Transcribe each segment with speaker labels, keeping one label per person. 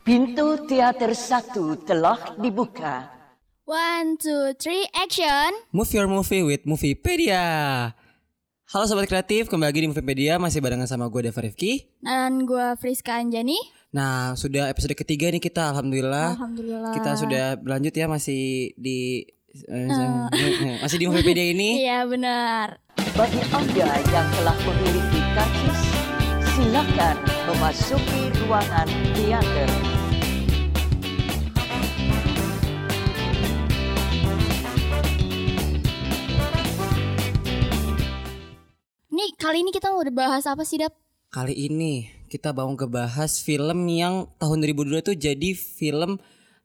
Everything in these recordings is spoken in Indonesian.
Speaker 1: Pintu teater satu telah dibuka.
Speaker 2: One, two, three, action!
Speaker 3: Move Your Movie with Moviepedia. Halo sobat kreatif, kembali lagi di Moviepedia masih barengan sama gue Deva Rifki.
Speaker 2: Dan gua Friska Anjani.
Speaker 3: Nah, sudah episode ketiga nih kita alhamdulillah.
Speaker 2: Alhamdulillah.
Speaker 3: Kita sudah lanjut ya masih di eh, masih di Moviepedia
Speaker 2: Eh.
Speaker 3: ini.
Speaker 2: Iya benar.
Speaker 1: Bagi Anda yang telah memiliki karcis, silakan memasuki ruangan teater.
Speaker 2: Nih kali ini kita mau bahas apa sih Dap?
Speaker 3: Kali ini kita mau ngebahas film yang tahun 2002 tuh jadi film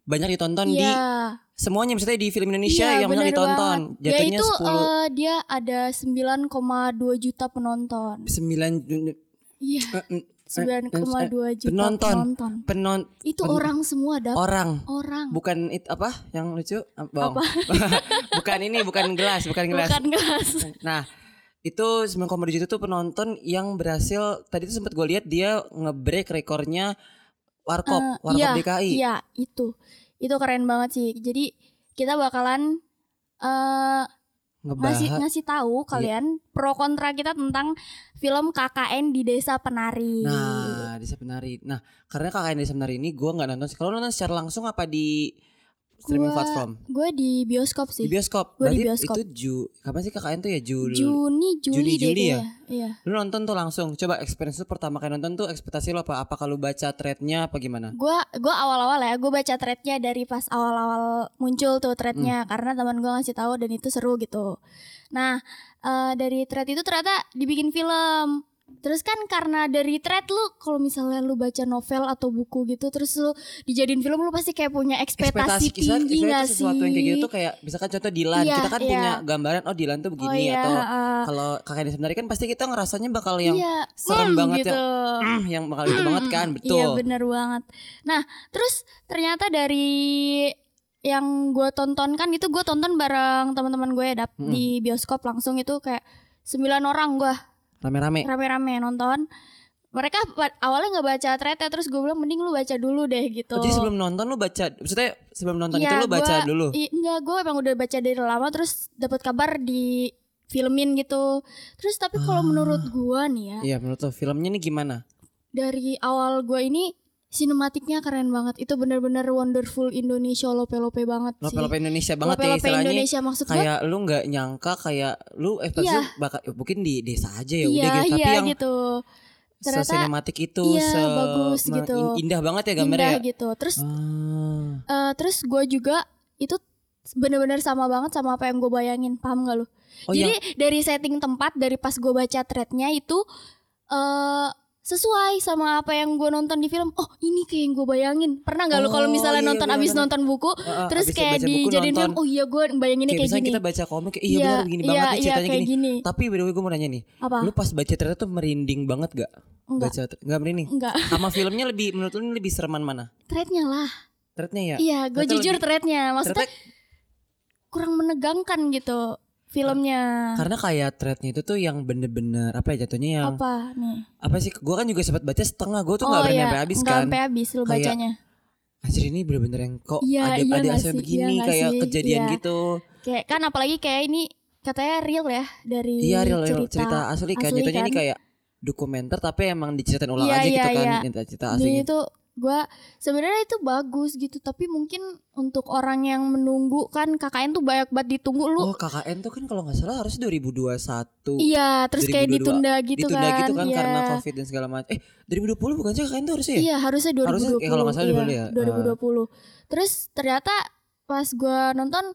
Speaker 3: banyak ditonton Kan di
Speaker 2: Iya.
Speaker 3: semuanya maksudnya di film Indonesia
Speaker 2: Iya,
Speaker 3: yang banyak
Speaker 2: benar
Speaker 3: ditonton.
Speaker 2: banget.
Speaker 3: Jatuhnya
Speaker 2: Yaitu eh, dia ada 9,2 juta penonton.
Speaker 3: 10 9
Speaker 2: Iya.
Speaker 3: eh, eh,
Speaker 2: 9,2 juta
Speaker 3: penonton. Oh.
Speaker 2: penonton.
Speaker 3: penon
Speaker 2: Itu
Speaker 3: pen-
Speaker 2: orang semua Dap.
Speaker 3: orang
Speaker 2: Orang.
Speaker 3: bukan it apa yang lucu Ah, bohong bukan ini bukan gelas bukan gelas
Speaker 2: Bukan gelas.
Speaker 3: nah itu 9,2 juta tuh penonton yang berhasil tadi tuh sempat gue lihat dia ngebreak rekornya warkop
Speaker 2: Eh,
Speaker 3: warkop
Speaker 2: iya,
Speaker 3: DKI
Speaker 2: Iya, itu. Itu keren banget sih. Jadi kita bakalan eh
Speaker 3: ngebahas
Speaker 2: ngasih ngasih tahu
Speaker 3: Iya.
Speaker 2: kalian pro kontra kita tentang film KKN di Desa Penari.
Speaker 3: nah desa penari nah karena kakaknya desa penari ini gue nggak nonton sih kalau lu nonton secara langsung apa di streaming
Speaker 2: Gua
Speaker 3: platform
Speaker 2: Gue di bioskop
Speaker 3: di
Speaker 2: sih.
Speaker 3: bioskop
Speaker 2: gua
Speaker 3: berarti
Speaker 2: di bioskop.
Speaker 3: itu ju kapan sih kakaknya tuh ya Juli
Speaker 2: Juni, Juli, deh
Speaker 3: Juni, Juli ya?
Speaker 2: kayaknya. Iya.
Speaker 3: lu nonton tuh langsung coba experience lu pertama kali nonton tuh ekspektasi lu apa apa kalau baca threadnya apa gimana
Speaker 2: Gue gua awal-awal ya, gue baca threadnya dari pas awal-awal muncul tuh threadnya
Speaker 3: Hmm.
Speaker 2: karena teman gue ngasih tahu dan itu seru gitu. Nah eh, dari thread itu ternyata dibikin film. Terus kan karena dari thread lu kalau misalnya lu baca novel atau buku gitu terus lu dijadiin film lu pasti kayak punya ekspektasi
Speaker 3: kisah-
Speaker 2: tinggi
Speaker 3: kisah itu
Speaker 2: gak sih?
Speaker 3: sesuatu yang kayak gitu tuh kayak misalkan contoh Dilan
Speaker 2: Iya,
Speaker 3: kita kan
Speaker 2: iya.
Speaker 3: punya gambaran oh Dilan tuh begini
Speaker 2: iya,
Speaker 3: atau
Speaker 2: heeh.
Speaker 3: kalau kakaknya sebenarnya kan pasti kita ngerasanya bakal yang
Speaker 2: Iya,
Speaker 3: serem
Speaker 2: mm,
Speaker 3: banget
Speaker 2: gitu.
Speaker 3: "Hmm," yang bakal itu banget kan betul
Speaker 2: Iya bener banget. Nah terus ternyata dari yang gue tonton kan itu gue tonton bareng teman-teman gue ya, dap
Speaker 3: Mm.
Speaker 2: di bioskop langsung itu kayak sembilan orang gue
Speaker 3: rame-rame Oh,
Speaker 2: rame-rame nonton. Mereka pa- awalnya nggak baca threadnya terus gue bilang mending lu baca dulu deh gitu.
Speaker 3: Oh, jadi sebelum nonton lu baca maksudnya sebelum nonton
Speaker 2: Iya,
Speaker 3: itu lu baca
Speaker 2: gua-
Speaker 3: dulu
Speaker 2: I- enggak gue emang udah baca dari lama terus dapat kabar di filmin gitu. Terus tapi kalau
Speaker 3: Ah.
Speaker 2: menurut gue nih ya
Speaker 3: iya menurut lu filmnya ini gimana
Speaker 2: dari awal gue ini sinematiknya keren banget itu bener-bener wonderful Indonesia lope-lope banget sih
Speaker 3: lope-lope Indonesia banget ya
Speaker 2: Lope-lope
Speaker 3: istilahnya
Speaker 2: Indonesia maksud gue
Speaker 3: kayak lu nggak nyangka kayak lu ekspektasi
Speaker 2: Iya.
Speaker 3: lu bakal ya mungkin di desa aja ya udah
Speaker 2: iya
Speaker 3: gitu tapi
Speaker 2: iya
Speaker 3: yang
Speaker 2: gitu Ternyata-
Speaker 3: sesinematik itu
Speaker 2: iya,
Speaker 3: se
Speaker 2: bagus gitu.
Speaker 3: indah banget ya gambarnya
Speaker 2: indah
Speaker 3: ya?
Speaker 2: gitu terus
Speaker 3: Ah.
Speaker 2: eh, terus gue juga itu bener-bener sama banget sama apa yang gue bayangin paham gak lu
Speaker 3: Oh,
Speaker 2: jadi dari setting tempat dari pas gue baca threadnya itu eh sesuai sama apa yang gue nonton di film oh ini kayak yang gue bayangin pernah nggak lu kalau
Speaker 3: Oh,
Speaker 2: misalnya
Speaker 3: iya,
Speaker 2: nonton
Speaker 3: bener,
Speaker 2: abis
Speaker 3: bener.
Speaker 2: nonton buku
Speaker 3: Heeh,
Speaker 2: terus
Speaker 3: abis
Speaker 2: kayak
Speaker 3: baca buku
Speaker 2: dijadiin film
Speaker 3: nonton.
Speaker 2: oh iya gue bayanginnya
Speaker 3: kayak
Speaker 2: kayak,
Speaker 3: misalnya
Speaker 2: gini
Speaker 3: kita baca komik kayak, iya benar begini banget nih
Speaker 2: iya,
Speaker 3: ceritanya
Speaker 2: kayak
Speaker 3: gini.
Speaker 2: gini.
Speaker 3: tapi by the way gue mau nanya nih
Speaker 2: Apa?
Speaker 3: lu pas baca ternyata tuh merinding banget gak
Speaker 2: Enggak.
Speaker 3: baca nggak merinding
Speaker 2: Enggak,
Speaker 3: sama filmnya lebih menurut lu ini lebih sereman mana
Speaker 2: threadnya lah.
Speaker 3: ternyata ya
Speaker 2: Iya, gue
Speaker 3: ternyata
Speaker 2: jujur
Speaker 3: lebih-
Speaker 2: threadnya. Maksudnya
Speaker 3: ternyata
Speaker 2: kurang menegangkan gitu filmnya.
Speaker 3: karena kayak threadnya itu tuh yang bener-bener apa ya jatuhnya yang apa,
Speaker 2: Apa nih? Oh, iya.
Speaker 3: sih gue kan juga sempat baca setengah gue tuh nggak pernah sampai habis
Speaker 2: nggak
Speaker 3: kan
Speaker 2: sampai habis lu
Speaker 3: Kayak-
Speaker 2: bacanya.
Speaker 3: anjir ini bener-bener yang kok
Speaker 2: Iya,
Speaker 3: ada
Speaker 2: iya
Speaker 3: ada
Speaker 2: nggak
Speaker 3: aspek
Speaker 2: sih?
Speaker 3: begini
Speaker 2: Iya nggak
Speaker 3: kayak
Speaker 2: sih?
Speaker 3: kejadian
Speaker 2: Iya.
Speaker 3: gitu
Speaker 2: Kayak kan apalagi kayak ini katanya real ya dari
Speaker 3: iya real real,
Speaker 2: cerita.
Speaker 3: cerita asli kan
Speaker 2: asli
Speaker 3: jatuhnya ini
Speaker 2: kan.
Speaker 3: kayak dokumenter tapi emang diceritain ulang
Speaker 2: Iya,
Speaker 3: aja
Speaker 2: iya,
Speaker 3: gitu kan
Speaker 2: iya.
Speaker 3: cerita cerita
Speaker 2: Jadi
Speaker 3: aslinya
Speaker 2: itu gue sebenarnya itu bagus gitu tapi mungkin untuk orang yang menunggu kan KKN tuh banyak banget ditunggu lu
Speaker 3: Oh KKN tuh kan kalau nggak salah harus 2021
Speaker 2: iya terus kayak
Speaker 3: 2022.
Speaker 2: ditunda gitu
Speaker 3: ditunda
Speaker 2: kan
Speaker 3: gitu kan
Speaker 2: iya.
Speaker 3: karena covid dan segala macam eh 2020 bukan sih KKN tuh harusnya ya?
Speaker 2: Iya harusnya 2020
Speaker 3: Harusnya, eh, kalau nggak salah
Speaker 2: iya,
Speaker 3: 2020 ya.
Speaker 2: 2020. Terus ternyata pas gue nonton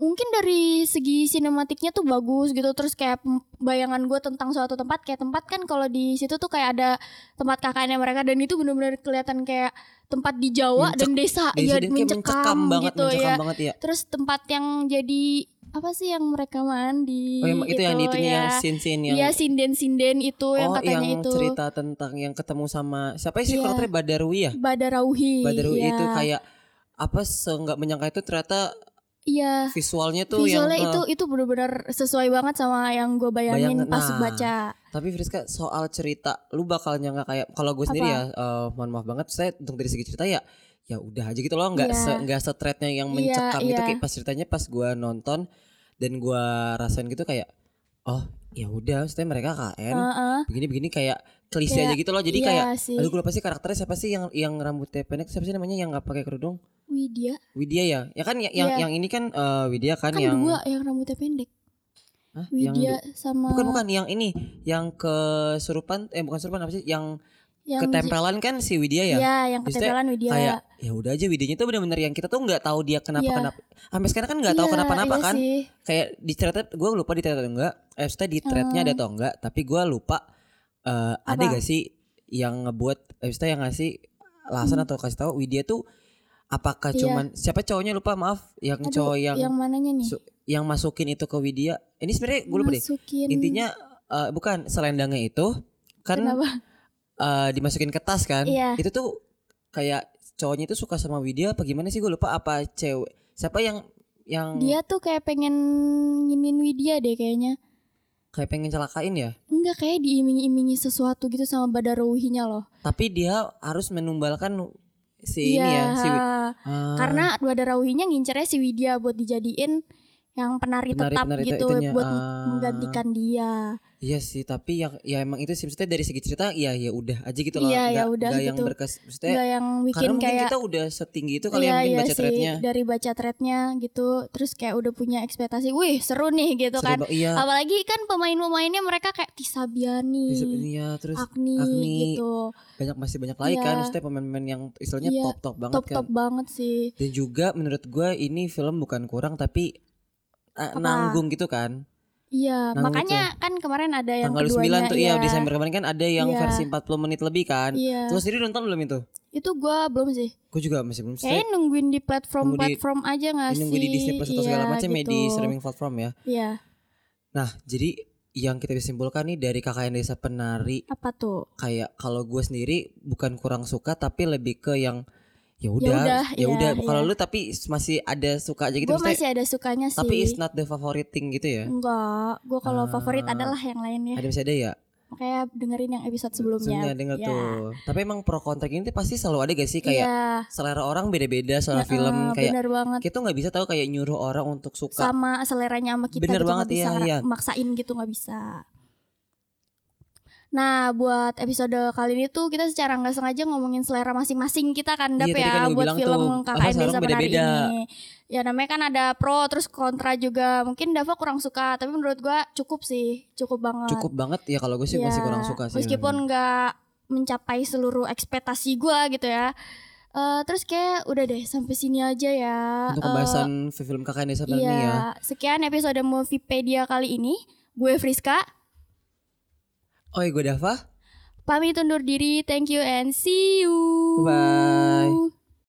Speaker 2: mungkin dari segi sinematiknya tuh bagus gitu terus kayak pem- bayangan gue tentang suatu tempat kayak tempat kan kalau di situ tuh kayak ada tempat kakaknya mereka dan itu bener-bener kelihatan kayak tempat di Jawa dan desa ya
Speaker 3: iya, Jadi dia kayak mencekam banget
Speaker 2: gitu
Speaker 3: mencekam
Speaker 2: ya
Speaker 3: banget ya
Speaker 2: terus tempat yang jadi apa sih yang mereka mandi
Speaker 3: oh yang itu yang itu yang
Speaker 2: Iya, ya.
Speaker 3: scene scene yang
Speaker 2: Iya sinden-sinden itu yang
Speaker 3: oh
Speaker 2: katanya
Speaker 3: yang
Speaker 2: itu
Speaker 3: cerita tentang yang ketemu sama siapa sih
Speaker 2: Iya.
Speaker 3: karakternya Badarwi ya
Speaker 2: Badarauhi
Speaker 3: Badarwi
Speaker 2: iya.
Speaker 3: itu kayak apa se nggak menyangka itu ternyata
Speaker 2: Iya.
Speaker 3: Visualnya tuh
Speaker 2: Visualnya
Speaker 3: yang eh,
Speaker 2: itu itu benar-benar sesuai banget sama yang gue bayangin
Speaker 3: Bayangin,
Speaker 2: pas
Speaker 3: nah.
Speaker 2: baca.
Speaker 3: Tapi Friska soal cerita lu bakal nyangka kayak kalau gue sendiri ya eh, mohon maaf banget saya untuk dari segi cerita ya ya udah aja gitu loh nggak
Speaker 2: Iya.
Speaker 3: se nggak setretnya yang
Speaker 2: Iya,
Speaker 3: mencekam itu
Speaker 2: iya.
Speaker 3: kayak pas ceritanya pas gue nonton dan gue rasain gitu kayak oh ya udah maksudnya mereka KN
Speaker 2: Heeh.
Speaker 3: begini begini kayak klise
Speaker 2: Kayak-
Speaker 3: aja gitu loh jadi
Speaker 2: iya
Speaker 3: kayak
Speaker 2: sih.
Speaker 3: aduh gue lupa sih karakternya siapa sih yang yang rambutnya pendek siapa sih namanya yang nggak pakai kerudung
Speaker 2: Widya
Speaker 3: Widya ya ya kan ya- yang
Speaker 2: Iya.
Speaker 3: yang ini kan eh, Widya kan,
Speaker 2: kan
Speaker 3: yang
Speaker 2: dua yang rambutnya pendek.
Speaker 3: Hah? Yang
Speaker 2: Widya eh.
Speaker 3: di-
Speaker 2: sama
Speaker 3: bukan bukan yang ini yang kesurupan eh bukan kesurupan apa sih yang
Speaker 2: yang
Speaker 3: ketempelan kan si Widya ya.
Speaker 2: Iya, yang
Speaker 3: Maksudnya
Speaker 2: ketempelan Widya.
Speaker 3: Kayak ya udah aja Widyanya tuh bener-bener yang kita tuh nggak tahu dia kenapa
Speaker 2: Iya.
Speaker 3: kenapa. Sampai sekarang kan nggak tahu
Speaker 2: Iya,
Speaker 3: kenapa-napa
Speaker 2: iya
Speaker 3: kan.
Speaker 2: sih.
Speaker 3: Kayak di thread gue lupa di thread atau enggak. Eh, maksudnya di threadnya ada atau enggak. Tapi gue lupa eh, ada
Speaker 2: Oh. Apa?
Speaker 3: gak sih yang ngebuat eh, maksudnya yang ngasih alasan atau kasih tahu Widya tuh apakah
Speaker 2: Hmm. Iya.
Speaker 3: cuman siapa cowoknya lupa maaf yang
Speaker 2: Aduh,
Speaker 3: cowok yang
Speaker 2: yang,
Speaker 3: yang,
Speaker 2: mananya nih?
Speaker 3: masukin itu ke Widya. Ini sebenarnya gue lupa deh.
Speaker 2: Masukin
Speaker 3: Intinya eh, bukan selendangnya itu kan
Speaker 2: kenapa?
Speaker 3: eh, dimasukin ke tas kan
Speaker 2: Iya.
Speaker 3: itu tuh kayak cowoknya itu suka sama Widya apa gimana sih gue lupa apa cewek siapa yang yang
Speaker 2: Dia tuh kayak pengen nginin Widya deh kayaknya.
Speaker 3: kayak pengen celakain ya
Speaker 2: Enggak kayak diimingi-imingi sesuatu gitu sama badarohinya loh.
Speaker 3: tapi dia harus menumbalkan si ini ya si Wi- Ah,
Speaker 2: Iya. Karena badarohinya ngincernya si Widya buat dijadiin yang penari,
Speaker 3: Penari-
Speaker 2: tetap
Speaker 3: penari
Speaker 2: gitu
Speaker 3: itunya,
Speaker 2: buat
Speaker 3: ah.
Speaker 2: menggantikan dia.
Speaker 3: iya sih tapi ya ya emang itu sih maksudnya dari segi cerita ya ya udah aja gitu loh
Speaker 2: Iya, ya
Speaker 3: Nggak-
Speaker 2: udah
Speaker 3: nggak yang
Speaker 2: gitu.
Speaker 3: berkas maksudnya
Speaker 2: Enggak yang
Speaker 3: karena
Speaker 2: bikin
Speaker 3: mungkin
Speaker 2: kayak
Speaker 3: kita udah setinggi itu kali
Speaker 2: Iya,
Speaker 3: yang mungkin
Speaker 2: iya
Speaker 3: baca
Speaker 2: sih,
Speaker 3: threadnya
Speaker 2: dari baca threadnya gitu terus kayak udah punya ekspektasi wih seru nih gitu
Speaker 3: Seru
Speaker 2: kan
Speaker 3: ba- iya
Speaker 2: apalagi kan pemain-pemainnya mereka kayak Tisa Biani,
Speaker 3: bisa- iya terus
Speaker 2: Agni,
Speaker 3: Agni,
Speaker 2: gitu
Speaker 3: banyak masih banyak lagi
Speaker 2: Ah. Iya.
Speaker 3: kan maksudnya pemain-pemain yang istilahnya
Speaker 2: Iya,
Speaker 3: top top banget
Speaker 2: top
Speaker 3: kan
Speaker 2: top banget sih
Speaker 3: Dan juga menurut gue ini film bukan kurang tapi eh,
Speaker 2: Apa?
Speaker 3: nanggung gitu kan.
Speaker 2: iya
Speaker 3: Nanggung
Speaker 2: makanya kan kemarin ada yang
Speaker 3: Tanggal
Speaker 2: keduanya
Speaker 3: 9 tuh iya Desember kemarin kan ada yang
Speaker 2: Iya.
Speaker 3: versi 40 menit lebih kan.
Speaker 2: iya
Speaker 3: Terus jadi nonton belum itu?
Speaker 2: itu gua belum sih
Speaker 3: Gue juga masih belum
Speaker 2: kayaknya nungguin di platform
Speaker 3: Nunggu di-
Speaker 2: platform aja nggak sih
Speaker 3: Ini nunggu di Disney Plus atau
Speaker 2: Iya,
Speaker 3: segala macam ya
Speaker 2: gitu.
Speaker 3: di streaming platform ya.
Speaker 2: iya
Speaker 3: Nah, jadi yang kita bisa simpulkan nih dari kakaknya desa penari
Speaker 2: apa tuh
Speaker 3: kayak kalau gue sendiri bukan kurang suka tapi lebih ke yang ya
Speaker 2: udah,
Speaker 3: udah ya
Speaker 2: iya,
Speaker 3: udah
Speaker 2: iya.
Speaker 3: kalau lu tapi masih ada suka aja gitu
Speaker 2: gua
Speaker 3: maksudnya,
Speaker 2: masih ada sukanya sih
Speaker 3: tapi it's not the favorite thing gitu ya
Speaker 2: enggak gua kalau
Speaker 3: Ah.
Speaker 2: favorit adalah yang lainnya
Speaker 3: ada masih ada ya
Speaker 2: makanya dengerin yang episode
Speaker 3: Sebelumnya
Speaker 2: sebelumnya
Speaker 3: denger
Speaker 2: Ya.
Speaker 3: tuh. Tapi emang pro kontra ini tuh pasti selalu ada gak sih kayak
Speaker 2: Iya.
Speaker 3: selera orang beda-beda soal
Speaker 2: Heeh,
Speaker 3: film kayak
Speaker 2: bener banget
Speaker 3: kita nggak bisa tahu kayak nyuruh orang untuk suka.
Speaker 2: sama seleranya sama kita gitu,
Speaker 3: Bener banget,
Speaker 2: nggak bisa
Speaker 3: iya,
Speaker 2: ngera-
Speaker 3: iya.
Speaker 2: maksain gitu nggak bisa nah buat episode kali ini tuh kita secara nggak sengaja ngomongin selera masing-masing kita kan Dap
Speaker 3: Iya, tadi
Speaker 2: ya
Speaker 3: kan gua
Speaker 2: buat
Speaker 3: bilang
Speaker 2: film
Speaker 3: tuh, apa,
Speaker 2: KKN Desa
Speaker 3: seorang
Speaker 2: Penari
Speaker 3: beda-beda.
Speaker 2: ini ya namanya kan ada pro terus kontra juga mungkin Dava kurang suka tapi menurut gua cukup sih cukup banget
Speaker 3: Cukup banget ya kalau gue sih masih
Speaker 2: Ya,
Speaker 3: kurang suka sih. iya,
Speaker 2: Meskipun nggak mencapai seluruh ekspektasi gua gitu ya. Eh, terus kayak udah deh sampai sini aja ya. Eh,
Speaker 3: untuk pembahasan film kakak Desa Penari
Speaker 2: iya,
Speaker 3: ini ya.
Speaker 2: sekian episode Moviepedia kali ini. Gue Friska,
Speaker 3: Oh, gue Dava.
Speaker 2: Uh. pamit undur diri. Thank you and see you.
Speaker 3: Bye.